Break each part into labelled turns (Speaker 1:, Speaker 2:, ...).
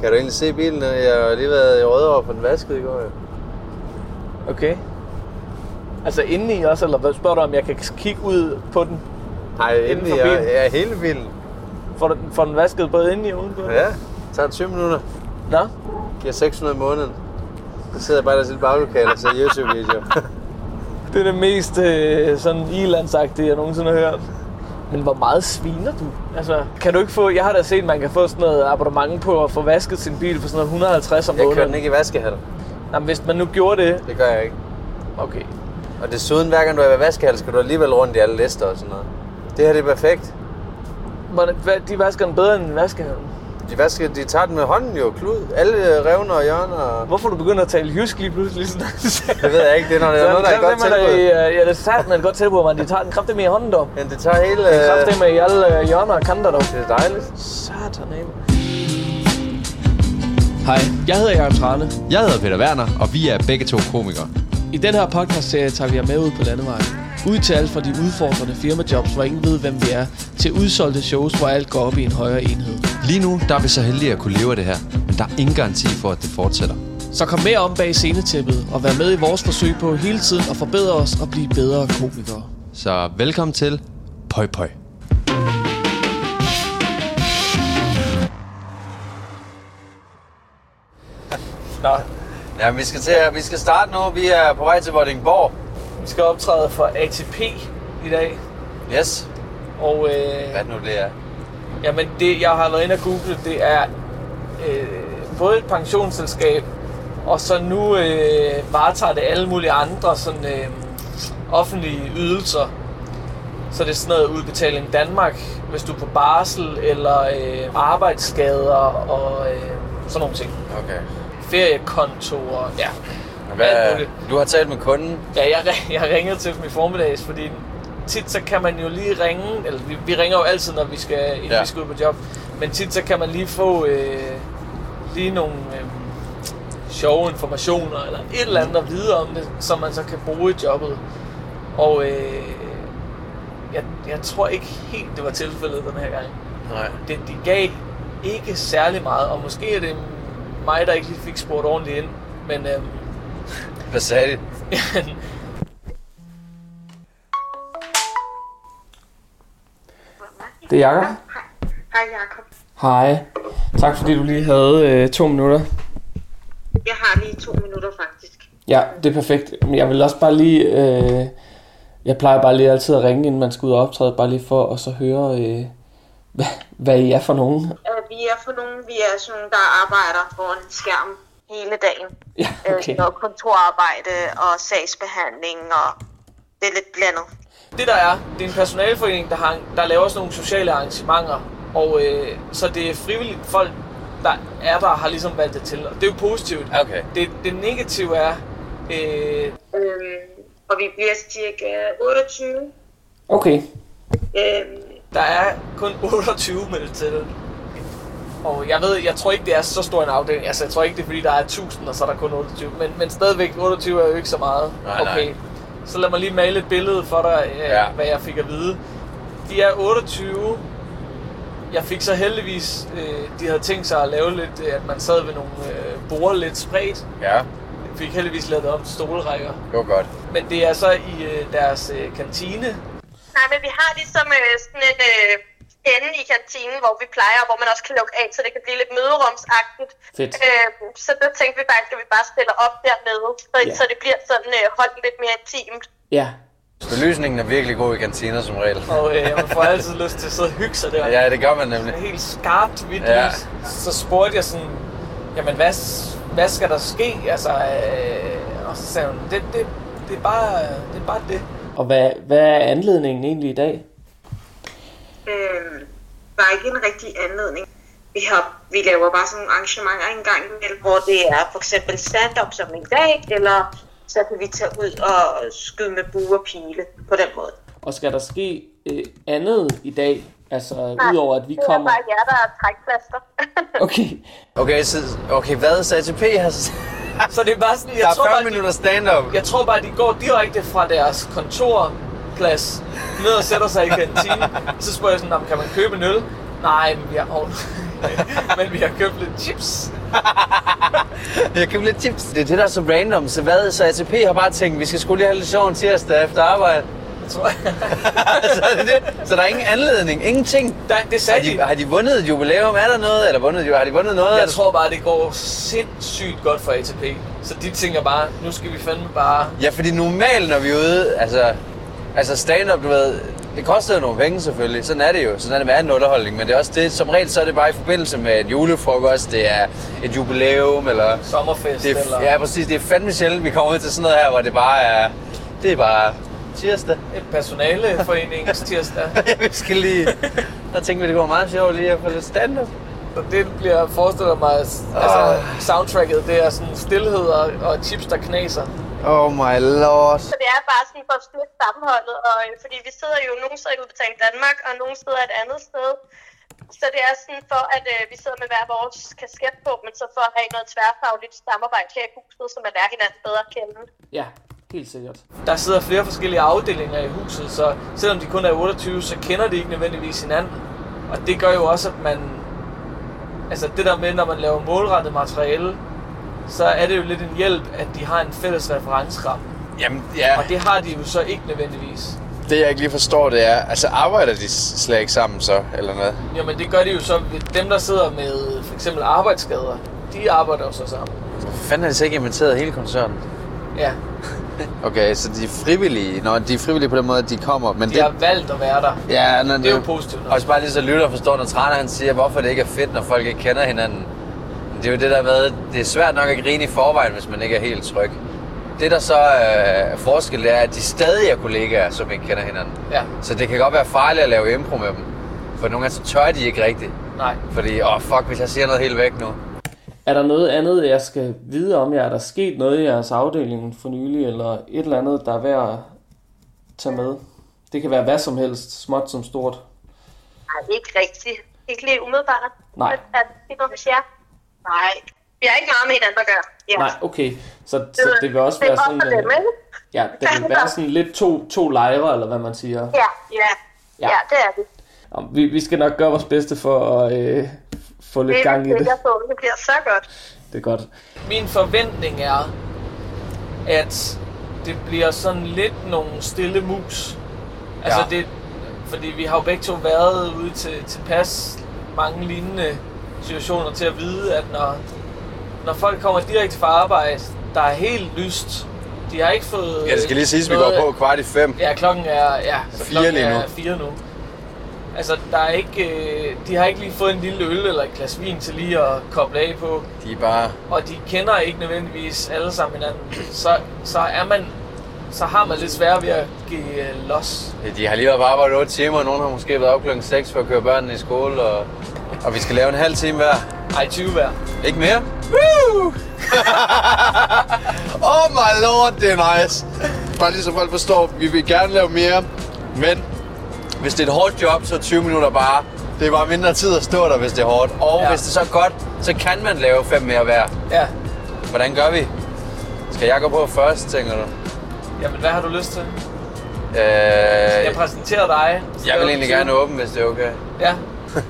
Speaker 1: Kan du egentlig se bilen? Jeg har lige været i Rødovre for den vasket i går. jo.
Speaker 2: Okay. Altså indeni også, eller hvad spørger du, om jeg kan kigge ud på den?
Speaker 1: Nej, inden
Speaker 2: for
Speaker 1: for bilen.
Speaker 2: bilen?
Speaker 1: Ja, hele bilen.
Speaker 2: Får den, får den vasket både indeni og udenpå?
Speaker 1: Ja, det tager 20 minutter.
Speaker 2: Nå,
Speaker 1: Giver 600 om måneden. Så sidder jeg bare i deres lille baglokale og ser YouTube-videoer.
Speaker 2: det er det mest øh, sådan ilandsagtige, jeg nogensinde har hørt. Men hvor meget sviner du? Altså, kan du ikke få... Jeg har da set, at man kan få sådan noget abonnement på at få vasket sin bil for sådan noget 150 om
Speaker 1: Jeg kører
Speaker 2: måneden.
Speaker 1: den ikke i vaskehatten.
Speaker 2: Jamen, hvis man nu gjorde det...
Speaker 1: Det gør jeg ikke.
Speaker 2: Okay.
Speaker 1: Og desuden, hver gang du er ved vaskehal, skal du alligevel rundt i alle lister og sådan noget. Det her det er perfekt.
Speaker 2: Hvordan- hvad- De vasker den bedre end vaskehallen.
Speaker 1: De, vasker, de tager den med hånden jo, klud. Alle øh, revner og hjørner. og-
Speaker 2: Hvorfor er du begynder at tale jysk lige pludselig? ligesom Sådan,
Speaker 1: Det ved jeg ikke, det er når det er noget, der er godt tilbud.
Speaker 2: tilbud. øh, Ja, det er sat med et godt tilbud, men de tager den kraftigt med i hånden dog.
Speaker 1: Men det tager hele...
Speaker 2: Den
Speaker 1: øh,
Speaker 2: kraftigt med i alle øh, hjørner og kanter dog.
Speaker 1: Det er dejligt.
Speaker 2: Satan
Speaker 3: Hej, jeg hedder Jakob Trane.
Speaker 4: Jeg hedder Peter Werner, og vi er begge to komikere.
Speaker 3: I den her podcast-serie tager vi jer med ud på landevejen. Ud til alt fra de udfordrende firmajobs, hvor ingen ved, hvem vi er, til udsolgte shows, hvor alt går op i en højere enhed.
Speaker 4: Lige nu der er vi så heldige at kunne leve af det her, men der er ingen garanti for, at det fortsætter.
Speaker 3: Så kom med om bag scenetippet og vær med i vores forsøg på hele tiden at forbedre os og blive bedre komikere.
Speaker 4: Så velkommen til Pøj Pøj.
Speaker 2: Nå,
Speaker 1: Ja, vi skal, til, vi skal starte nu. Vi er på vej til Vordingborg.
Speaker 2: vi skal optræde for ATP i dag.
Speaker 1: Yes.
Speaker 2: Og øh,
Speaker 1: Hvad nu det er?
Speaker 2: jamen det, jeg har været inde og google, det er øh, både et pensionsselskab, og så nu øh, varetager det alle mulige andre sådan, øh, offentlige ydelser. Så det er sådan noget udbetaling Danmark, hvis du er på barsel, eller øh, arbejdsskader og øh, sådan nogle ting.
Speaker 1: Okay.
Speaker 2: Feriekonto og ja, alt
Speaker 1: Hvad,
Speaker 2: muligt.
Speaker 1: du har talt med kunden.
Speaker 2: Ja, jeg, ring- jeg ringede til dem i formiddags, fordi tit så kan man jo lige ringe, eller vi, vi ringer jo altid, når vi skal, inden
Speaker 1: Ja.
Speaker 2: ja. vi skal ud på job, men tit så kan man lige få øh, lige nogle øh, sjove informationer, eller et eller andet at vide om det, som man så kan bruge i jobbet. Og øh, jeg, jeg tror ikke helt, det var tilfældet den her gang.
Speaker 1: Nej.
Speaker 2: Det, de gav ikke særlig meget, og måske er det mig, der ikke lige fik spurgt ordentligt ind, men... Øh,
Speaker 1: Hvad sagde de?
Speaker 3: Det er Jakob.
Speaker 5: Hej Jakob.
Speaker 3: Hej. Tak fordi du lige havde øh, to minutter.
Speaker 5: Jeg har lige to minutter faktisk.
Speaker 3: Ja, det er perfekt. Men jeg vil også bare lige... Øh, jeg plejer bare lige altid at ringe, inden man skal ud og optræde, bare lige for at så høre, øh, hvad, hvad I er for nogen.
Speaker 5: Øh, Vi er for nogen, vi er sådan nogle, der arbejder foran en skærm hele dagen.
Speaker 3: Ja,
Speaker 5: Øh,
Speaker 3: okay.
Speaker 5: Og kontorarbejde og sagsbehandling og det er lidt blandet.
Speaker 2: Det der er, det er en personaleforening, der, har, der laver sådan nogle sociale arrangementer, og øh, så det er frivilligt folk, der er der, har ligesom valgt det til, og det er jo positivt.
Speaker 1: Okay.
Speaker 2: Det, det negative er, øh,
Speaker 5: Øhm, og vi bliver cirka 28.
Speaker 3: Okay.
Speaker 5: Øhm,
Speaker 2: der er kun 28 meldt til. Og jeg ved, jeg tror ikke, det er så stor en afdeling. Altså, jeg tror ikke, det er fordi, der er 1000, og så er der kun 28. Men, men stadigvæk, 28 er jo ikke så meget.
Speaker 1: Nej, nej.
Speaker 2: Så lad mig lige male et billede for dig, øh,
Speaker 1: Ja.
Speaker 2: ja. hvad jeg fik at vide. De er 28. Jeg fik så heldigvis, øh, de havde tænkt sig at lave lidt, øh, at man sad ved nogle øh, borde lidt spredt.
Speaker 1: Ja,
Speaker 2: Jeg fik heldigvis lavet det om til stolerækker.
Speaker 1: det var godt.
Speaker 2: Men det er så i øh, deres øh, kantine,
Speaker 5: nej, men vi har ligesom øh, sådan en øh, ende i kantinen, hvor vi plejer, og hvor man også kan lukke af, så det kan blive lidt møderumsagtigt.
Speaker 3: Fedt.
Speaker 5: Øhm, så der tænkte vi faktisk, at vi bare stiller op dernede, så,
Speaker 3: Ja.
Speaker 5: yeah. så det bliver sådan øh, holdt lidt mere intimt.
Speaker 3: Ja.
Speaker 1: Belysningen er virkelig god i kantiner som regel.
Speaker 2: og øh, man får altid lyst til at sidde og hygge sig der.
Speaker 1: Ja, det gør man nemlig.
Speaker 2: helt skarpt hvidt
Speaker 1: Ja.
Speaker 2: ja. Så spurgte jeg sådan, jamen hvad, s- hvad skal der ske? Altså, øh, og så sagde hun, det, det, det, er bare, det er bare det.
Speaker 3: Og hvad, hvad er anledningen egentlig i dag?
Speaker 5: Øh, der er ikke en rigtig anledning. Vi, har, vi laver bare sådan nogle arrangementer en gang imellem, hvor det er for eksempel stand-up som en dag, eller så kan vi tage ud og skyde med bue og pile på den måde.
Speaker 3: Og skal der ske øh, andet i dag? Altså,
Speaker 5: Nej,
Speaker 3: udover at vi kommer...
Speaker 5: Det er bare jer, der er trækplaster.
Speaker 3: Okay.
Speaker 1: Okay, så, okay hvad? Så ATP har...
Speaker 2: Så det er bare sådan, jeg,
Speaker 1: Der
Speaker 2: tror,
Speaker 1: er 40
Speaker 2: bare, de,
Speaker 1: minutter stand-up.
Speaker 2: jeg tror bare, de går direkte fra deres kontorplads ned og sætter sig i kantinen. Så spørger jeg sådan, "Nå, kan man købe en øl? Nej, men vi har, hov. men vi har købt lidt chips.
Speaker 1: Jeg kan lidt tips. Det er det, der er så random. Så hvad? Så ATP har bare tænkt, vi skal skulle lige have lidt sjov en tirsdag efter arbejde.
Speaker 2: tror jeg.
Speaker 1: så, er det det. så der er ingen anledning. Ingenting.
Speaker 2: Der, det
Speaker 1: Har
Speaker 2: sagde
Speaker 1: de, har
Speaker 2: de.
Speaker 1: de vundet et jubilæum? Er der noget? Eller vundet, har de vundet noget? Er
Speaker 2: Jeg
Speaker 1: der-
Speaker 2: tror bare, det går sindssygt godt for ATP. Så de tænker bare, nu skal vi fandme bare...
Speaker 1: Ja, fordi normalt, når vi er ude, altså, altså stand-up, du ved, det koster jo nogle penge selvfølgelig. Sådan er det jo. Sådan er det med anden underholdning. Men det er også det, som regel, så er det bare i forbindelse med et julefrokost, det er et jubilæum, eller...
Speaker 2: Sommerfest
Speaker 1: Det
Speaker 2: eller
Speaker 1: er, ja, præcis. Det er fandme sjældent, vi kommer ud til sådan noget her, hvor det bare er... Det er bare tirsdag.
Speaker 2: et personaleforeningens tirsdag.
Speaker 1: vi skal lige... Der tænkte vi, det går meget sjovt lige at få lidt stand-up.
Speaker 2: Så det bliver forestillet mig, altså soundtracket, det er sådan stillhed og, og chips, der knaser.
Speaker 1: Oh my lord.
Speaker 6: Så det er bare sådan for at styrke sammenholdet, og, øh, fordi vi sidder jo, nogen sidder i Udbetaling Danmark, og nogen sidder et andet sted. Så det er sådan for, at øh, vi sidder med hver vores kasket på, men så for at have noget tværfagligt samarbejde her i huset, så man lærer hinanden bedre at kende.
Speaker 3: Ja, helt sikkert.
Speaker 2: Der sidder flere forskellige afdelinger i huset, så selvom de kun er 28, så kender de ikke nødvendigvis hinanden. Og det gør jo også, at man... Altså det der med, når man laver målrettet materiale, så er det jo lidt en hjælp, at de har en fælles referenceramme.
Speaker 1: Jamen, ja.
Speaker 2: Og det har de jo så ikke nødvendigvis.
Speaker 1: Det, jeg ikke lige forstår, det er... Altså, arbejder de slet ikke sammen så, eller noget?
Speaker 2: Jamen det gør de jo så, dem der sidder med for eksempel arbejdsskader, de arbejder jo så sammen.
Speaker 1: Hvorfor fanden har de så ikke inviteret hele koncernen?
Speaker 2: Ja,
Speaker 1: Okay, så de er frivillige. Nå, de er frivillige på den måde, at de kommer, men
Speaker 2: de har valgt at være der.
Speaker 1: Ja, når,
Speaker 2: Det er jo positivt nok.
Speaker 1: Også bare lige så lytter og forstår, når træneren han siger, hvorfor det ikke er fedt, når folk ikke kender hinanden. Men Det er jo det der med, det er svært nok at grine i forvejen, hvis man ikke er helt tryg. Det der så øh, er forskel, det er, at de stadig er kollegaer, som ikke kender hinanden.
Speaker 2: Ja,
Speaker 1: Så det kan godt være farligt at lave impro med dem. For nogle gange så tør de ikke rigtigt.
Speaker 2: nej.
Speaker 1: Fordi, åh oh, fuck, hvis jeg siger noget helt væk nu.
Speaker 3: Er der noget andet, jeg skal vide om jer? Er der sket noget i jeres afdeling for nylig, eller et eller andet, der er værd at tage med? Det kan være hvad som helst, småt som stort.
Speaker 6: Nej, ikke rigtigt. Ikke lige umiddelbart.
Speaker 3: Nej.
Speaker 6: Men, at det går hos jer. Nej. Vi har ikke meget med hinanden at gøre. Ja.
Speaker 3: Nej, okay. Så, så det vil også
Speaker 6: det
Speaker 3: være
Speaker 6: er
Speaker 3: sådan...
Speaker 6: Det er
Speaker 3: øh,
Speaker 6: ikke?
Speaker 3: Ja, det vil være sådan lidt to, to lejre, eller hvad man siger.
Speaker 6: Ja, ja.
Speaker 3: Ja.
Speaker 6: Ja, ja det er det.
Speaker 3: Nå, Vi, vi skal nok gøre vores bedste for at øh, få
Speaker 6: Det
Speaker 3: lidt
Speaker 6: er
Speaker 3: gang i
Speaker 6: vi
Speaker 3: det.
Speaker 6: sikker på. Det bliver så godt.
Speaker 3: Det er godt.
Speaker 2: Min forventning er, at det bliver sådan lidt nogle stille mus. Altså
Speaker 1: Ja.
Speaker 2: det, fordi vi har jo begge to været ude til, til pas mange lignende situationer til at vide, at når, når folk kommer direkte fra arbejde, der er helt lyst. De har ikke fået...
Speaker 1: Ja, det skal lige siges, vi
Speaker 2: noget-
Speaker 1: går på kvart i fem.
Speaker 2: Ja, klokken er... Ja, så
Speaker 1: Fire
Speaker 2: klokken
Speaker 1: lige nu.
Speaker 2: Er fire nu. Altså, der er ikke, øh, de har ikke lige fået en lille øl eller et glas vin til lige at koble af på
Speaker 1: De er bare...
Speaker 2: og de kender ikke nødvendigvis alle sammen hinanden, så, så er man så har man lidt svært ved at give øh, los.
Speaker 1: De har lige været på arbejde 8 timer, og nogen har måske været op klokken 6 for at køre børnene i skole, og, og vi skal lave en halv time hver.
Speaker 2: Ej, 20 hver.
Speaker 1: Ikke mere? Woo! oh my lord, det er nice. Bare lige så folk forstår, vi vil gerne lave mere, men hvis det er et hårdt job, så er 20 minutter bare. Det er bare mindre tid at stå der, hvis det er hårdt. Og
Speaker 2: Ja.
Speaker 1: ja. hvis det er så er godt, så kan man lave fem mere hver.
Speaker 2: Ja.
Speaker 1: Hvordan gør vi? Skal jeg gå på først, tænker du?
Speaker 2: Jamen, hvad har du lyst til? Jeg
Speaker 1: Øh,
Speaker 2: præsenterer dig.
Speaker 1: jeg vil egentlig gerne åbne, hvis det er okay.
Speaker 2: Ja.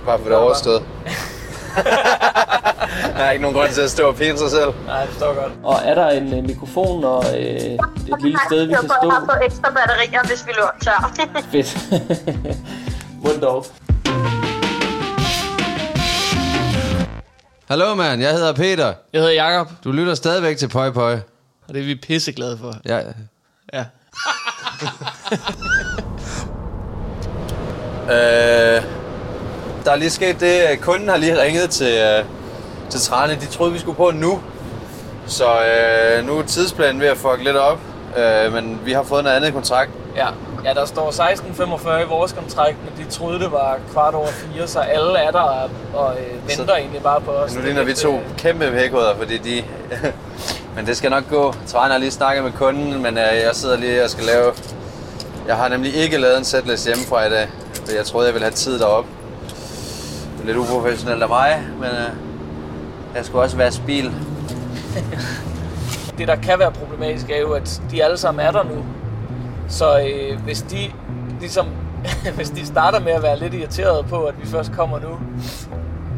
Speaker 1: Bare for det
Speaker 2: Nå,
Speaker 1: overstået. Der er ikke nogen grund til at stå og pine sig selv.
Speaker 2: Nej, jeg forstår godt.
Speaker 3: Og er der en øh, mikrofon og øh, et lille sted, vi kan
Speaker 6: Jeg
Speaker 3: stå?
Speaker 6: har fået ekstra batterier, hvis vi løber tør.
Speaker 3: Fedt. Mundt dog.
Speaker 4: Hallo mand, jeg hedder Peter.
Speaker 2: Jeg hedder Jakob,
Speaker 4: Du lytter stadigvæk til Pøj Pøj.
Speaker 2: og det er vi pisseglade for.
Speaker 4: Jeg,
Speaker 2: Ja.
Speaker 1: Øh, der er lige sket det, at kunden har lige ringet til, øh, til Trane. De troede, vi skulle på nu. Så øh, nu er tidsplanen ved at fuck lidt op. Øh, men vi har fået noget andet i kontrakt.
Speaker 2: Ja. Ja, der står 16.45 i vores kontrakt, men de troede, det var kvart over fire, så alle er der og, og øh, venter
Speaker 1: Så-
Speaker 2: egentlig bare på os.
Speaker 1: Nu
Speaker 2: Det er
Speaker 1: ligner vi
Speaker 2: lidt,
Speaker 1: to
Speaker 2: øh,
Speaker 1: kæmpe hækhoveder, fordi de... men det skal nok gå. Trane har lige snakket med kunden, men øh, jeg sidder lige og skal lave... Jeg har nemlig ikke lavet en setlist hjemmefra i dag, for jeg troede, jeg ville have tid derop. Det er lidt uprofessionelt af mig, men øh, jeg skulle også være bil.
Speaker 2: det, der kan være problematisk, er jo, at de alle sammen er der nu. Så øh, hvis de ligesom hvis de starter med at være lidt irriterede på, at vi først kommer nu,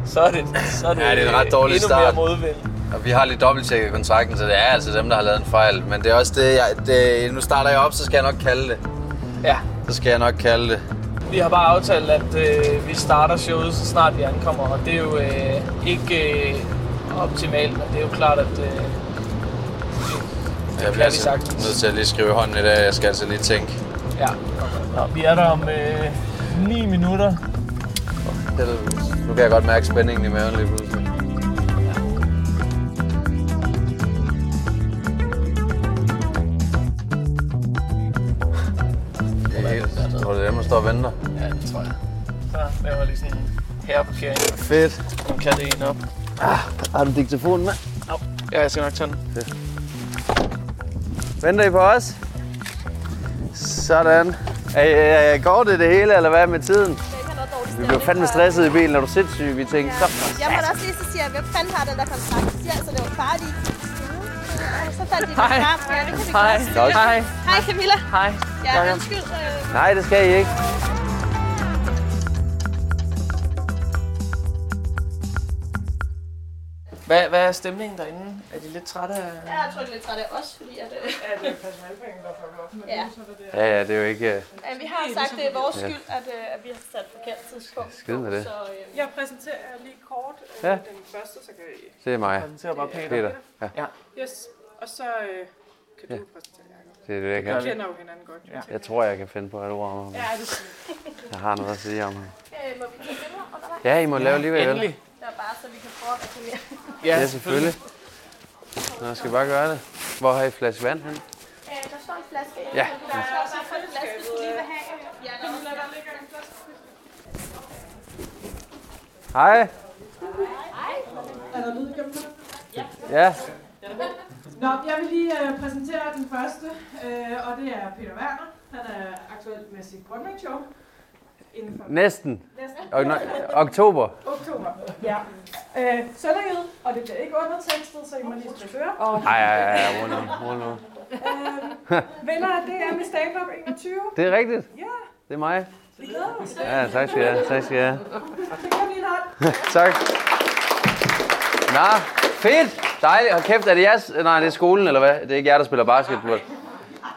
Speaker 2: så er det, så er det,
Speaker 1: Ja, det er en ret dårlig
Speaker 2: endnu
Speaker 1: start.
Speaker 2: mere modvind.
Speaker 1: Og vi har lige dobbelttjekket kontrakten, så det er altså dem, der har lavet en fejl. Men det er også det, jeg, det nu starter jeg op, så skal jeg nok kalde det.
Speaker 2: Ja,
Speaker 1: Så skal jeg nok kalde det.
Speaker 2: vi har bare aftalt, at øh, vi starter showet, så snart vi ankommer, og det er jo øh, ikke øh, optimalt, men det er jo klart, at øh,
Speaker 1: Jeg
Speaker 2: vi
Speaker 1: bliver altså
Speaker 2: sagtens.
Speaker 1: nødt til at lige skrive hånden i dag. Jeg skal altså lige tænke.
Speaker 2: ja. Nå, vi er der om øh, 9 minutter.
Speaker 1: Helvede. Nu kan jeg godt mærke spændingen i maven lige pludselig. Det er helt- Tror du, det er dem, der står og venter?
Speaker 2: Ja, det tror jeg. Så laver jeg lige sådan en herreparkering,
Speaker 1: Fedt.
Speaker 2: og kan det en op.
Speaker 1: Har du diktafonen med?
Speaker 2: Au. Ja, jeg skal nok tage den.
Speaker 1: Venter I på os? Sådan. Er, er, går det det hele, eller hvad med tiden? Vi blev fandme stresset i bilen, er du sindssyg? Vi tænkte, så
Speaker 7: Jeg måtte også lige så sige, at hvem fanden har den der kontrakt? De siger, altså, det var far, de ikke kunne. Og så fandt de den frem. Ja, det kan vi Hej. Hej. Hej Camilla. Hej. Ja, undskyld. øh,
Speaker 1: nej, det skal I ikke.
Speaker 2: Hvad, hvad er stemningen derinde? Er de lidt trætte af...
Speaker 7: Jeg er trykket lidt træt af os, fordi at... øh, Ja,
Speaker 1: Ja, ja, det er jo ikke... øh,
Speaker 7: men vi har sagt, det er vores skyld, at, øh, at vi har sat forkert tidspunkt.
Speaker 1: Skid med det.
Speaker 7: Så, øh,
Speaker 8: Jeg præsenterer jer lige kort øh,
Speaker 1: Ja.
Speaker 8: den første, så kan I...
Speaker 1: Det er mig,
Speaker 2: Den ser bare pænt ud.
Speaker 1: Peter. Ja,
Speaker 8: Yes, og så øh, kan du præsentere jer.
Speaker 1: det er det, jeg
Speaker 8: Vi
Speaker 1: kan.
Speaker 8: kender jo hinanden godt. Ja.
Speaker 1: Jeg tror, jeg kan finde på et ord om ham.
Speaker 8: ja, det
Speaker 1: Jeg har noget at sige om ham.
Speaker 7: øh, må vi tage billeder undervejs?
Speaker 1: Ja, I må lave alligevel. vel?
Speaker 2: Endelig.
Speaker 7: Det er bare, så vi kan prøve at reklamere.
Speaker 1: Ja, selvfølgelig. Nå, jeg skal bare gøre det. Hvor har I flaske vand hen?
Speaker 7: Øh, der står en flaske.
Speaker 1: Ja.
Speaker 7: Der er også en fuld flaske, vi skulle lige vil have. Ja, der er også en
Speaker 1: Hej. Ja.
Speaker 8: Nå, jeg vil lige øh, præsentere den første, øh, og det er Peter Werner. Han er aktuel med sit Brøndberg-show inden for
Speaker 1: Næsten.
Speaker 8: næsten
Speaker 1: Og, nøj- oktober.
Speaker 8: oktober. Ja. Øh, Sønderjyd, og det bliver ikke undertekstet, så I må lige stryge ører.
Speaker 1: Ej, ej, ej, ej, rolig nu, rolig nu.
Speaker 8: Øh, Vinder af DM i Stand-Up 21.
Speaker 1: Det er rigtigt.
Speaker 8: Ja,
Speaker 1: Det er mig.
Speaker 8: vi glæder os.
Speaker 1: Ja, tak skal jeg. Tak skal jeg.
Speaker 8: Det kan blive en hånd.
Speaker 1: Tak. Nå, fedt. Dejligt. Hold kæft, er det jeres? Nej, det er skolen, eller hvad? Det er ikke jer, der spiller basketball.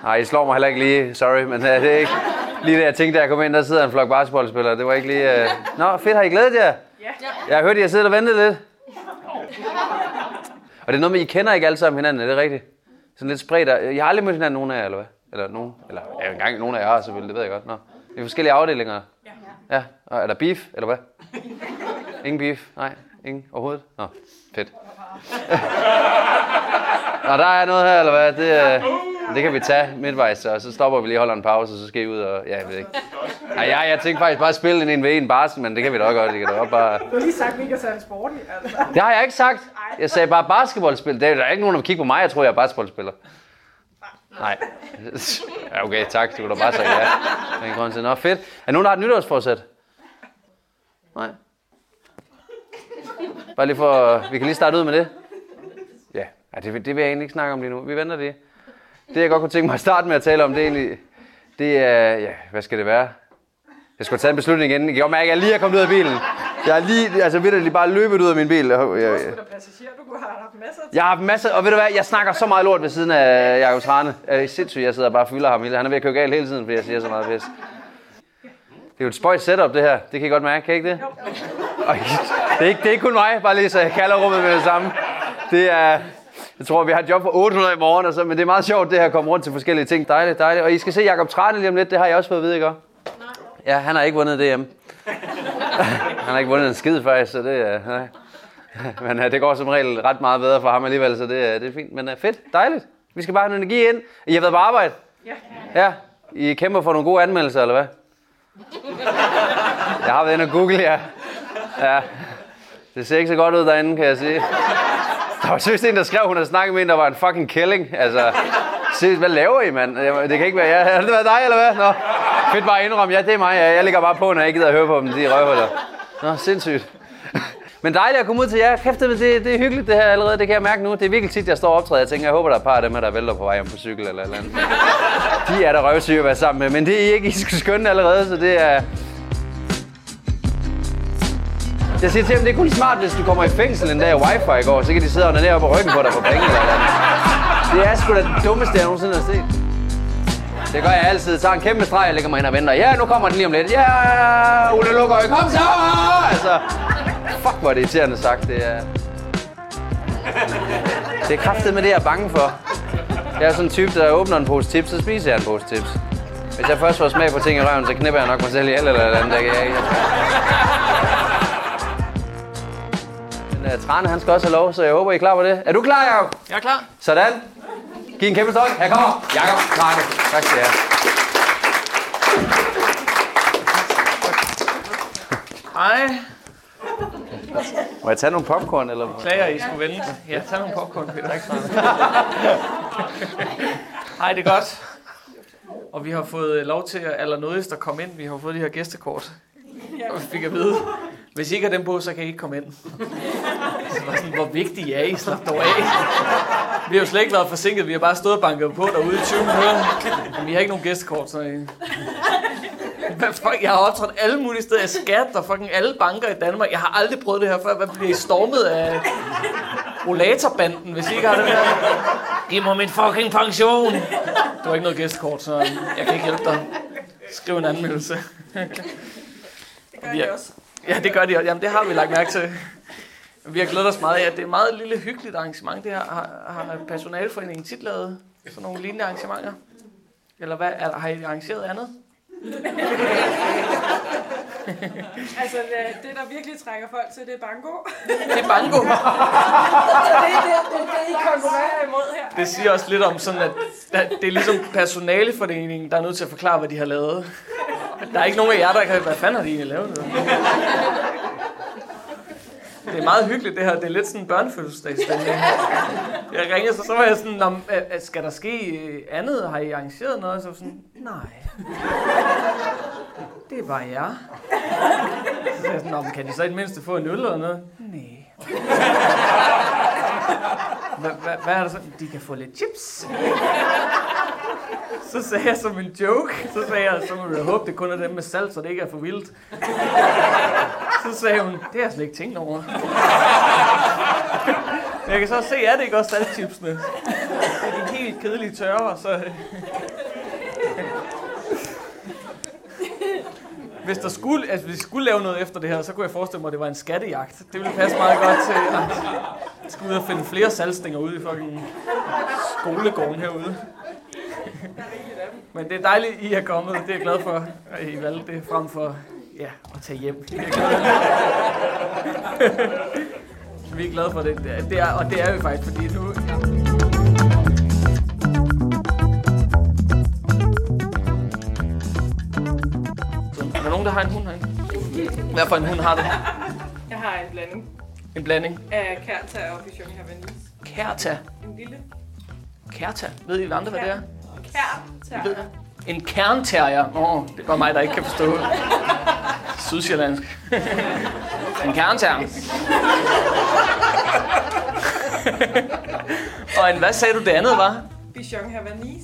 Speaker 1: Nej, I slår mig heller ikke lige. Sorry, men uh, det er ikke lige det, jeg tænkte, da jeg kom ind. Der sidder en flok basketballspillere. Det var ikke lige... Uh... Nå, fedt. Har I glædet jer? Ja. Jeg har hørt, I har siddet og ventet lidt. Og det er noget med, I kender ikke alle sammen hinanden, er det rigtigt? Sådan lidt spredt. og- I har aldrig mødt hinanden, nogen af jer, eller hvad? Eller nogen? Eller ja, engang nogen af jer har selvfølgelig, det ved jeg godt. Nå. Det er forskellige afdelinger. Ja. ja. Og er der beef, eller hvad? Ingen beef? Nej, ingen overhovedet? Nå, fedt. Nå, der er noget her, eller hvad? Det, øh, det kan vi tage midtvejs, og så stopper vi lige, holder en pause, og så skal I ud og... Ja, jeg ved ikke. Ej, jeg, jeg tænkte faktisk bare at spille en en ved en barsel, men det kan vi da også godt. Det kan da godt bare...
Speaker 8: Du har lige sagt, at vi ikke er særlig sportlige, altså.
Speaker 1: Det har jeg ikke sagt. Jeg sagde bare basketballspil. Der er der er ikke nogen, der vil kigge på mig. Jeg tror, jeg er basketballspiller. Nej. Ja, okay, tak. Det kunne du bare sige ja. Der er ingen grund til. Nå, fedt. Er nogen, der har et nytårsforsæt? Nej. Bare lige for... Vi kan lige starte ud med det. Ja, ja det, vil- det vil jeg egentlig ikke snakke om lige nu. Vi venter det. Det, jeg godt kunne tænke mig at starte med at tale om, det er egentlig... Det er... Ja, hvad skal det være? Jeg skulle tage en beslutning inden. Jeg kan godt mærke, at jeg lige er kommet ud af bilen. Jeg er lige, altså vitterligt bare løbet ud af min bil. Jeg, jeg,
Speaker 8: Du er passager, du kunne have haft masser af
Speaker 1: jeg har haft masser, og ved du hvad, jeg snakker så meget lort ved siden af Jakob Trane. Øh, sindssygt, jeg sidder og bare fylder ham. hele- Han er ved at køre galt hele tiden, fordi jeg siger så meget pis. Det er jo et spøjt setup, det her. Det kan I godt mærke, kan I ikke det? Og, det, er ikke, det er ikke kun mig, bare lige så jeg kalder rummet med det samme. Det er, jeg tror, vi har et job for 800 i morgen, og så, men det er meget sjovt, det her at komme rundt til forskellige ting. Dejligt, dejligt. Og I skal se Jakob Trane lige om lidt, det har jeg også fået at vide, ikke? også? Ja, han har ikke vundet DM. han har ikke vundet en skid faktisk, så det er... Nej. Men øh, det går som regel ret meget bedre for ham alligevel, så det, øh, det er fint. Men øh, fedt, dejligt. Vi skal bare have noget energi ind. I har været på arbejde? Ja. Ja. I kæmper for nogle gode anmeldelser, eller hvad? Jeg har været inde og google jer. Ja. Det ser ikke så godt ud derinde, kan jeg sige. Der var seriøst en, der skrev, hun havde snakket med en, der var en fucking kælling. Altså, seriøst, hvad laver I, mand? Jeg- Det kan ikke være jeg. Har det været dig, eller hvad? Nå, fedt bare at indrømme. Ja, det er mig. Ja, jeg ligger bare på, når jeg ikke gider at høre på dem, de røvhuller. Nå, sindssygt. Men dejligt at komme ud til jer. Kæft, det, det er hyggeligt det her allerede. Det kan jeg mærke nu. Det er virkelig tit, jeg står og optræder. Jeg tænker, jeg håber, der er et par af dem her, der vælter på vej hjem på cykel eller et eller andet. De er der røvsyge at være sammen med, men det er I ikke. I skal skønne allerede, så det er... Jeg siger til dem, det er kun smart, hvis du kommer i fængsel en dag af wifi i går, så kan de sidde og onanere på ryggen på dig for penge eller noget. Det er sgu da det dummeste, jeg nogensinde har set. Det gør jeg altid. Jeg tager en kæmpe streg og lægger mig ind og venter. Ja, nu kommer den lige om lidt. Ja, Ole Lukker, kom så! Altså, fuck, hvor er det irriterende sagt. Det er, det er kraftet med det, jeg er bange for. Jeg er sådan en type, der åbner en pose tips, så spiser jeg en pose tips. Hvis jeg først får smag på ting i røven, så knipper jeg nok mig selv ihjel eller et eller andet. Det kan jeg ikke. Men uh, Trane, han skal også have lov, så jeg håber, I er klar på det. Er du klar, Jacob?
Speaker 2: Jeg er klar.
Speaker 1: Sådan. Giv en kæmpe stål. Her kommer Jakob Krakke. Tak skal I have.
Speaker 2: Hej.
Speaker 1: Må jeg tage nogle popcorn, eller hvad?
Speaker 2: Klager, I skulle vente. Ja, tag nogle popcorn, Peter. Hej, det er godt. Og vi har fået øh, lov til at allernådigst at komme ind. Vi har fået de her gæstekort. Og vi fik at vide, hvis I ikke har dem på, så kan I ikke komme ind. Så var jeg sådan, hvor vigtige er I? Slap dog af. Vi har jo slet ikke været forsinket. Vi har bare stået og banket på derude i 20 minutter. Men vi har ikke nogen gæstekort, så... I- Hvad fuck, jeg har optrådt alle mulige steder. Jeg skat og fucking alle banker i Danmark. Jeg har aldrig prøvet det her før. Hvad bliver I stormet af rollatorbanden, hvis I ikke har det her? Giv mig min fucking pension! Du har ikke noget gæstkort, så jeg kan ikke hjælpe dig. Skriv en anmeldelse.
Speaker 8: Det gør jeg også.
Speaker 2: Ja, det gør de også. Jamen, det har vi lagt mærke til. Vi har glædet os meget. Ja, det er et meget lille hyggeligt arrangement, det her. Har, har personalforeningen tit lavet sådan nogle lignende arrangementer? Eller hvad? Er, har I arrangeret andet?
Speaker 8: Altså, det- det, der virkelig trækker folk til, det er banko.
Speaker 2: Det er banko.
Speaker 8: Så det er det, det, er det I konkurrerer imod her.
Speaker 2: Det siger også lidt om sådan, at at det er ligesom personaleforeningen, der er nødt til at forklare, hvad de har lavet. Der er ikke nogen af jer, der kan... Hvad fanden har de egentlig lavet? nu?" Det er meget hyggeligt, det her. Det er lidt sådan en børnefødselsdagsstemning. Jeg ringede, så, så var jeg sådan, "Nå, men, øh, skal der ske øh, andet? Har I arrangeret noget? Så var jeg sådan, nej. Det er bare jer. Så sagde jeg sådan, "Nå, men kan de så i det mindste få en øl eller noget? Nej. Hva, hva, hvad er der så? De kan få lidt chips. Så sagde jeg som en joke, så sagde jeg, så må du håbe, det kun er dem med salt, så det ikke er for vildt. Så sagde hun, det har jeg slet ikke tænkt over. Men jeg kan så se, at det ikke også saltchipsene. Det er de helt kedelige tørre, så... øh. Hvis der skulle, altså hvis vi skulle lave noget efter det her, så kunne jeg forestille mig, at det var en skattejagt. Det ville passe meget godt til, at skal ud og finde flere salgstænger ude i fucking skolegården herude. Men det er dejligt, I er kommet. Det er jeg glad for, at I valgte det frem for ja, at tage hjem. Det er jeg glad for. Vi er glade for det. det er, og det er vi faktisk, fordi nu... Er der nogen, der har en hund herinde? Hvad for en hund har det?
Speaker 8: Jeg har en blanding
Speaker 2: En blanding.
Speaker 8: af kærta og Bichon Hervanus.
Speaker 2: Kærta.
Speaker 8: En lille
Speaker 2: Kærta. Ved I, hvad andre, hvad det er?
Speaker 8: kærta.
Speaker 2: En kernterrier. Nå, det var mig, der ikke kan forstå det. Sydsjællandsk. en kernterrier. Og en, hvad sagde du det andet var?
Speaker 8: Bichon Hervanus.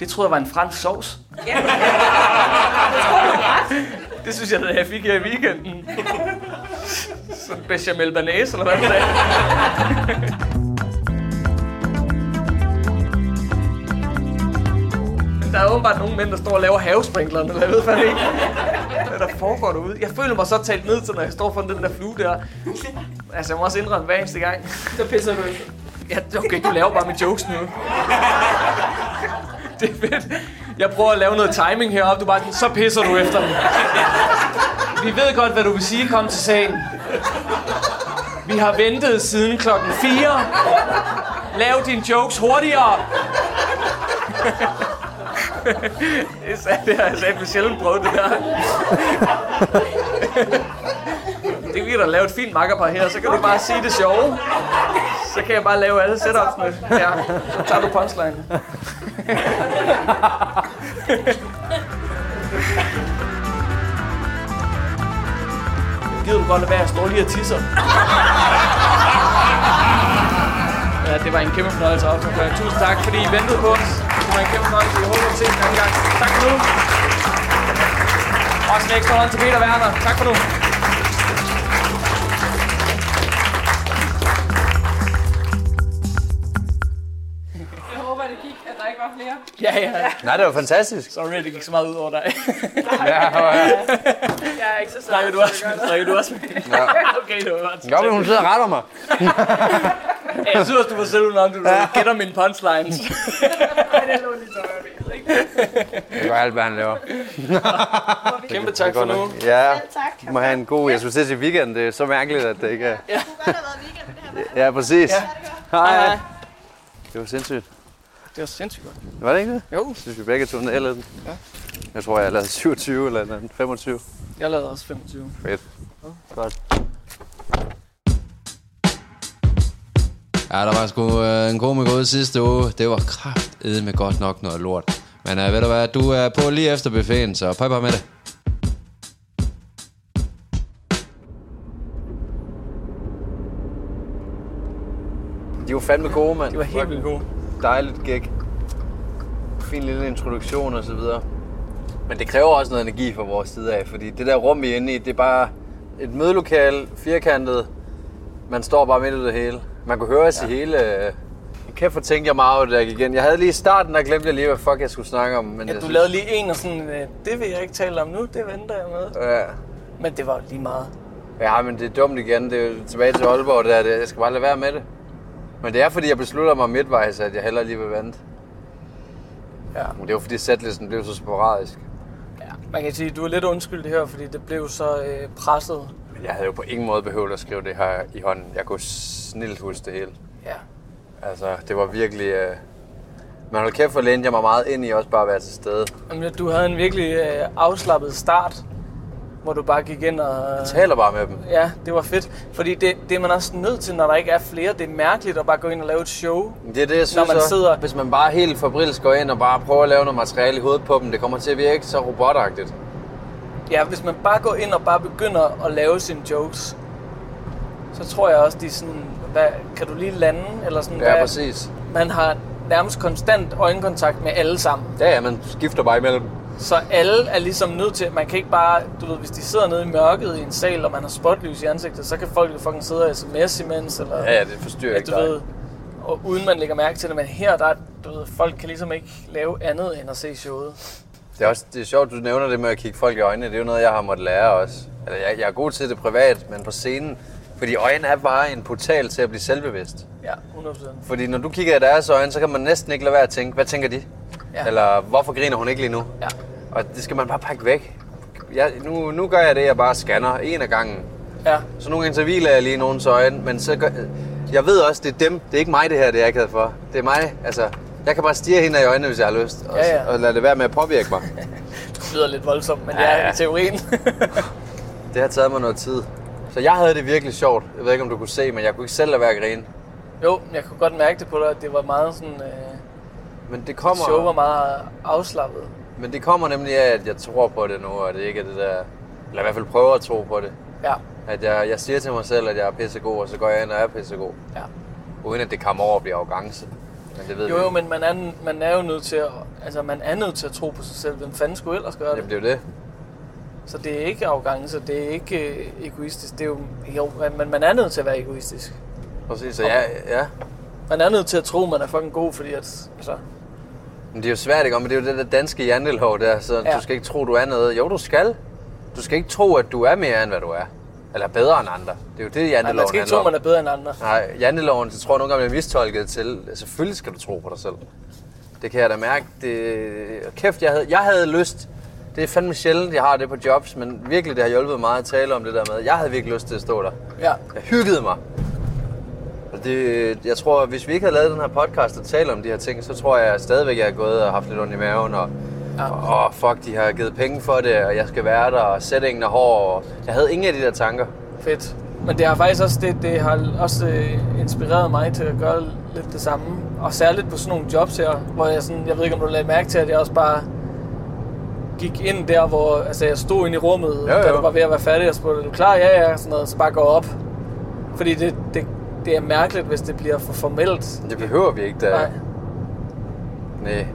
Speaker 2: Det troede jeg var en fransk sovs.
Speaker 8: Ja.
Speaker 2: Det synes jeg, at jeg fik her i weekenden. Så bechamel banæs, eller hvad det sagde. Der er åbenbart nogle mænd, der står og laver havesprinklerne, eller jeg ved fandme ikke, hvad der foregår derude. Jeg føler mig så talt ned til, når jeg står foran den der flue der. Altså, jeg må også indrømme hver eneste gang.
Speaker 8: Så pisser du ikke.
Speaker 2: Ja, okay, du laver bare med jokes nu. Det er fedt. Jeg prøver at lave noget timing heroppe. Du er bare sådan, så pisser du efter dem. Vi ved godt, hvad du vil sige. Kom til sagen. Vi har ventet siden klokken 4. Lav dine jokes hurtigere. Det er sandt, det har jeg sagt, sjældent prøvet det der. Det kan vi da lave et fint makkerpar her, så kan du bare sige det sjove. Så kan jeg bare lave alle setupsene. Ja, så tager du punchline. gider du godt lade være, jeg står lige og tisser. ja, det var en kæmpe fornøjelse at optage. for jer. Tusind tak, fordi I ventede på os. Det var en kæmpe fornøjelse. Jeg håber, at ses en anden gang. Tak for nu. Også en ekstra hånd til Peter Werner. Tak for nu.
Speaker 8: Jeg håber, det gik, at der ikke var flere.
Speaker 2: Ja, ja.
Speaker 1: Nej, det var fantastisk.
Speaker 2: Sorry, det gik så meget ud over dig.
Speaker 1: Ja, ja.
Speaker 8: Jeg er ikke så
Speaker 2: Snakker
Speaker 8: sej.
Speaker 2: du også med? Snakker du også med?
Speaker 1: Ja.
Speaker 2: okay, det var godt.
Speaker 1: Jo, men hun sidder og retter mig.
Speaker 2: Ja, Jeg synes også, du var selv nok, du gætter mine punchlines.
Speaker 8: Men det lå lige tøjere ved, ikke?
Speaker 1: Det gør alt, hvad han laver.
Speaker 2: Kæmpe tak for nu.
Speaker 1: Ja,
Speaker 9: Selv tak.
Speaker 1: du må have en god... Jeg skulle til at sige weekend. Det er så mærkeligt, at det ikke er...
Speaker 9: Det kunne godt have været weekend, det her.
Speaker 1: Ja, præcis. Hej. Det var sindssygt.
Speaker 2: Det var sindssygt godt.
Speaker 1: Var det ikke det?
Speaker 2: Jo,
Speaker 1: Jeg synes, vi begge to nailede den. Jeg tror, jeg lavede 27 eller et eller andet. 25.
Speaker 2: jeg lavede også 25.
Speaker 10: Ja, der var sgu øh, en komiker ude sidste uge. Det var kraftedme godt nok noget lort. Men øh, ved du hvad, du er på lige efter buffeten, så pøj pøj med det.
Speaker 1: De var fandme gode, mand.
Speaker 2: Det var helt vildt god.
Speaker 1: dejligt gig. Fin lille introduktion og så videre. Men det kræver også noget energi fra vores side af, fordi det der rum, vi er inde i, det er bare et mødelokale, firkantet. Man står bare midt i det hele. Man kunne høre os ja. i hele... øh, Kæft, hvor tænkte jeg meget over det der gik igen. Jeg havde lige i starten, der glemte jeg lige, hvad fuck jeg skulle snakke om. Men
Speaker 2: Ja,
Speaker 1: jeg
Speaker 2: du
Speaker 1: synes-
Speaker 2: lavede lige en og sådan, øh, det vil jeg ikke tale om nu, det venter jeg med.
Speaker 1: Ja.
Speaker 2: Men det var jo lige meget.
Speaker 1: ja, men det er dumt igen. Det er jo tilbage til Aalborg, der. Det- Jeg skal bare lade være med det. Men det er, fordi jeg beslutter mig midtvejs, at jeg hellere lige vil vente.
Speaker 2: Ja.
Speaker 1: Men det er jo, fordi sætlisten blev så sporadisk.
Speaker 2: Ja. Man kan sige, at du er lidt undskyldt her, fordi det blev så øh, presset.
Speaker 1: Men jeg havde jo på ingen måde behøvet at skrive det her i hånden. Jeg kunne snilt huske det hele.
Speaker 2: Ja.
Speaker 1: Altså, det var virkelig... Øh... Men hold kæft, hvor lænede jeg mig meget ind i også bare at være til stede.
Speaker 2: Jamen, ja, du havde en virkelig øh, afslappet start, hvor du bare gik ind og...
Speaker 1: Taler bare med dem.
Speaker 2: Ja, det var fedt. Fordi det, det er man også nødt til, når der ikke er flere. Det er mærkeligt at bare gå ind og lave et show.
Speaker 1: Det er det, jeg synes
Speaker 2: man
Speaker 1: også.
Speaker 2: sidder-
Speaker 1: Hvis man bare helt fabrilsk går ind og bare prøver at lave noget materiale i hovedet på dem, det kommer til at virke så robotagtigt.
Speaker 2: Ja, hvis man bare går ind og bare begynder at lave sine jokes, så tror jeg også, de er sådan, hvad, kan du lige lande? Eller sådan,
Speaker 1: Ja,
Speaker 2: hvad,
Speaker 1: præcis.
Speaker 2: Man har nærmest konstant øjenkontakt med alle sammen.
Speaker 1: Ja, ja, man skifter bare imellem.
Speaker 2: Så alle er ligesom nødt til, man kan ikke bare, du ved, hvis de sidder nede i mørket i en sal, og man har spotlys i ansigtet, så kan folk jo fucking sidde og sms imens, eller
Speaker 1: Ja, ja, det forstyrrer
Speaker 2: ja,
Speaker 1: ikke
Speaker 2: du
Speaker 1: dig.
Speaker 2: ved, og uden man lægger mærke til det, men her, der, er- du ved, folk kan ligesom ikke lave andet end at se showet.
Speaker 1: Det er, også, det er sjovt, du nævner det med at kigge folk i øjnene. Det er jo noget, jeg har måttet lære også. Eller jeg, jeg er god til det privat, men på scenen. Fordi øjnene er bare en portal til at blive selvbevidst.
Speaker 2: Ja, 100%.
Speaker 1: Fordi når du kigger i deres øjne, så kan man næsten ikke lade være at tænke, hvad tænker de?
Speaker 2: Ja.
Speaker 1: Ja. Eller hvorfor griner hun ikke lige nu?
Speaker 2: Ja.
Speaker 1: Og det skal man bare pakke væk. Jeg, nu, nu gør jeg det, jeg bare scanner en af gangen.
Speaker 2: Ja,
Speaker 1: Så nogle gange så hviler jeg lige i nogens øjne, men så gør, jeg ved også, det er dem. Det er ikke mig, det her, det er jeg ikke for. Det er mig, altså, jeg kan bare stirre hende i øjnene, hvis jeg har lyst. Og,
Speaker 2: Ja, ja.
Speaker 1: og lade det være med at påvirke mig.
Speaker 2: det lyder lidt voldsomt, men ja, det er i teorien.
Speaker 1: Det har taget mig noget tid. Så jeg havde det virkelig sjovt. Jeg ved ikke, om du kunne se, men jeg kunne ikke selv lade være at grine.
Speaker 2: jo, jeg kunne godt mærke det på dig, at det var meget sådan, øh,
Speaker 1: Men det kommer,
Speaker 2: show var meget afslappet.
Speaker 1: men det kommer nemlig af, at jeg tror på det nu, og det ikke er det der... Eller i hvert fald prøver at tro på det.
Speaker 2: Ja,
Speaker 1: At jeg, jeg siger til mig selv, at jeg er pissegod, og så går jeg ind og er pissegod.
Speaker 2: ja.
Speaker 1: Uden at det kommer over og bliver arrogance. Men det ved
Speaker 2: Jo,
Speaker 1: vi
Speaker 2: jo,
Speaker 1: ikke.
Speaker 2: men man er, man er jo nødt til at, altså, man er nødt til at tro på sig selv. Hvem fanden skulle ellers gøre det?
Speaker 1: Jamen, det er jo det.
Speaker 2: Så det er ikke arrogance, det er ikke øh, egoistisk. Det er jo, jo, men man er nødt til at være egoistisk.
Speaker 1: Præcis, så ja, ja.
Speaker 2: Man er nødt til at tro, man er fucking god, fordi at, altså,
Speaker 1: Men det er jo svært, ikke? Og Men det er jo det der danske jandelhov der, så
Speaker 2: Ja.
Speaker 1: ja. du skal ikke tro, du er noget. Jo, du skal. Du skal ikke tro, at du er mere end hvad du er. Eller bedre end andre. Det er jo det, janteloven
Speaker 2: nej, man skal ikke
Speaker 1: handler
Speaker 2: tro,
Speaker 1: om.
Speaker 2: man er bedre end andre.
Speaker 1: Nej, janteloven, det tror jeg nogle gange bliver mistolket til. Selvfølgelig skal du tro på dig selv. Det kan jeg da mærke. Det... Kæft, jeg havde, jeg havde lyst. Det er fandme sjældent, jeg har det på jobs, men virkelig, det har hjulpet meget at tale om det der med. Jeg havde virkelig lyst til at stå der.
Speaker 2: Ja,
Speaker 1: Jeg hyggede mig. Og det, jeg tror, hvis vi ikke havde lavet den her podcast og talt om de her ting, så tror jeg stadigvæk, jeg er gået og haft lidt ondt i maven. Og,
Speaker 2: Ja.
Speaker 1: og åh, fuck, de har givet penge for det, og jeg skal være der, og sætningen er hård. Og jeg havde ingen af de der tanker.
Speaker 2: fedt. Men det har faktisk også, det, det har også øh, inspireret mig til at gøre lidt det samme. Og særligt på sådan nogle jobs her, hvor jeg sådan, jeg ved ikke om du lagde mærke til, at jeg også bare gik ind der, hvor altså, jeg stod inde i rummet, jo,
Speaker 1: jo.
Speaker 2: da du var ved at være færdig, og spurgte, er du klar? Ja, ja, sådan noget, så bare går op. Fordi det, det, det er mærkeligt, hvis det bliver for formelt.
Speaker 1: Det behøver vi ikke, da.
Speaker 2: Nej.
Speaker 1: Nej.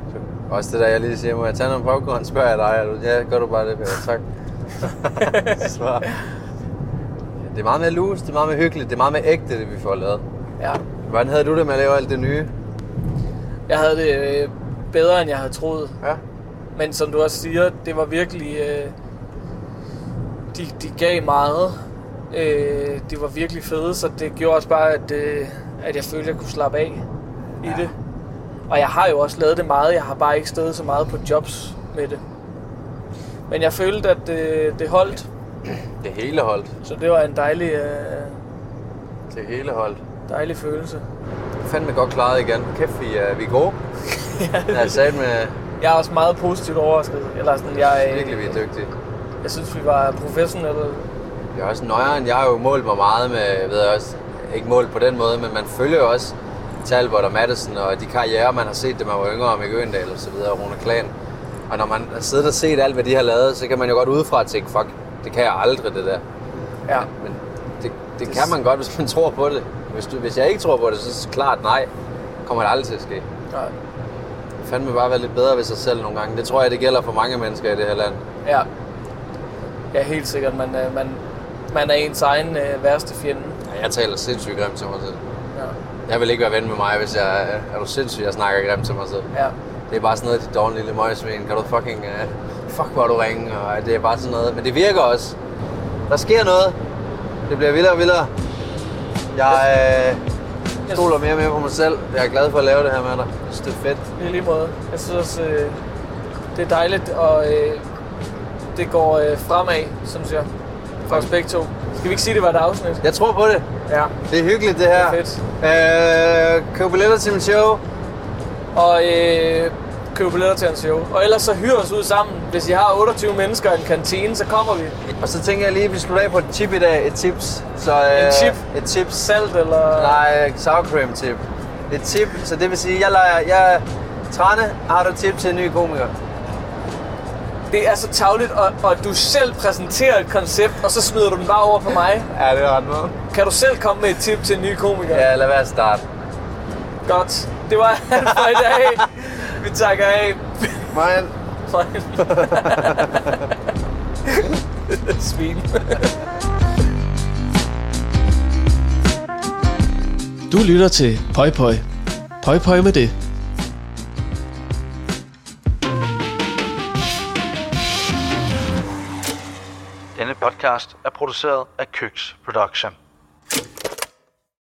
Speaker 1: Også det der, jeg lige siger, må jeg tage noget popcorn, spørger jeg dig. Er du- Ja, gør du bare det, Peter. Tak. Svar. Det er meget mere loose, det er meget mere hyggeligt, det er meget mere ægte, det vi får lavet.
Speaker 2: Ja.
Speaker 1: Hvordan havde du det med at lave alt det nye?
Speaker 2: Jeg havde det øh, bedre, end jeg havde troet.
Speaker 1: Ja.
Speaker 2: Men som du også siger, det var virkelig... Øh, de, de gav meget. Øh, de var virkelig fede, så det gjorde også bare, at, øh, at jeg følte, at jeg kunne slappe af i det. Og jeg har jo også lavet det meget. Jeg har bare ikke stået så meget på jobs med det. Men jeg følte, at øh, det holdt.
Speaker 1: Det hele holdt.
Speaker 2: Så det var en dejlig, øh,
Speaker 1: Det hele holdt.
Speaker 2: dejlig følelse.
Speaker 1: Fandme godt klaret igen. Kæft, vi er, vi er gode. ja, jeg sagde med,
Speaker 2: Jeg er også meget positivt overrasket. Eller sådan, jeg, øh,
Speaker 1: virkelig, vi er dygtige.
Speaker 2: jeg synes, vi var professionelle.
Speaker 1: Det er også nøjeren. Jeg har jo målt mig meget med, ved jeg også, ikke målt på den måde, men man følger jo også Talbot og Madison og de karrierer, man har set, da man var yngre, Mikke Øndal og så videre, og Rune Klan. Og når man har siddet og set alt, hvad de har lavet, så kan man jo godt udefra tænke, fuck, det kan jeg aldrig, det der.
Speaker 2: Ja.
Speaker 1: Men det, det kan man godt, hvis man tror på det. Hvis, du, hvis jeg ikke tror på det, så er det klart nej. Kommer det aldrig til at ske.
Speaker 2: Nej.
Speaker 1: Fandme bare være lidt bedre ved sig selv nogle gange. Det tror jeg, det gælder for mange mennesker i det her land.
Speaker 2: Ja. Ja, helt sikkert. Man, øh, man, man er ens egen øh, værste fjende.
Speaker 1: Ja, jeg taler sindssygt grimt til mig selv.
Speaker 2: Ja.
Speaker 1: Jeg vil ikke være ven med mig, hvis jeg... Er du sindssyg, jeg snakker grimt til mig selv?
Speaker 2: ja.
Speaker 1: Det er bare sådan noget, dit dårlige lille møgsvin. Kan du fucking... Uh, fuck, hvor er du ringe? Og øh, det er bare sådan noget. Men det virker også. Der sker noget. Det bliver vildere og vildere. Jeg øh, stoler mere og mere på mig selv. Jeg er glad for at lave det her med dig. Jeg synes, det er fedt.
Speaker 2: I lige måde. Jeg synes også, øh, det er dejligt, og øh, det går øh, fremad, synes jeg. For os begge to. Skal vi ikke sige, det var et afsnit?
Speaker 1: Jeg tror på det.
Speaker 2: Ja.
Speaker 1: Det er hyggeligt, det her.
Speaker 2: Det er fedt.
Speaker 1: Øh, køb billetter til min show.
Speaker 2: Og øh, købe billetter til hans show. Og ellers så hyr os ud sammen. Hvis I har 28 mennesker i en kantine, så kommer vi.
Speaker 1: Og så tænker jeg lige, at vi slutter af på et tip i dag. Et tips. Så, øh,
Speaker 2: En chip?
Speaker 1: Et tips.
Speaker 2: Salt eller...
Speaker 1: Nej, sour cream tip. Et tip, så det vil sige, jeg leger, jeg Trane, har du et tip til en ny komiker?
Speaker 2: Det er så tavligt, og, og du selv præsenterer et koncept, og så smider du den bare over på mig.
Speaker 1: Ja, det er ret måde.
Speaker 2: Kan du selv komme med et tip til en ny komiker?
Speaker 1: Ja, lad være at starte.
Speaker 2: Godt. Det var alt for i dag. Vi takker af.
Speaker 1: Marian,
Speaker 2: Svin.
Speaker 3: Du lytter til Pøj Pøj. Pøj Pøj med det.
Speaker 11: Denne podcast er produceret af Køks Production.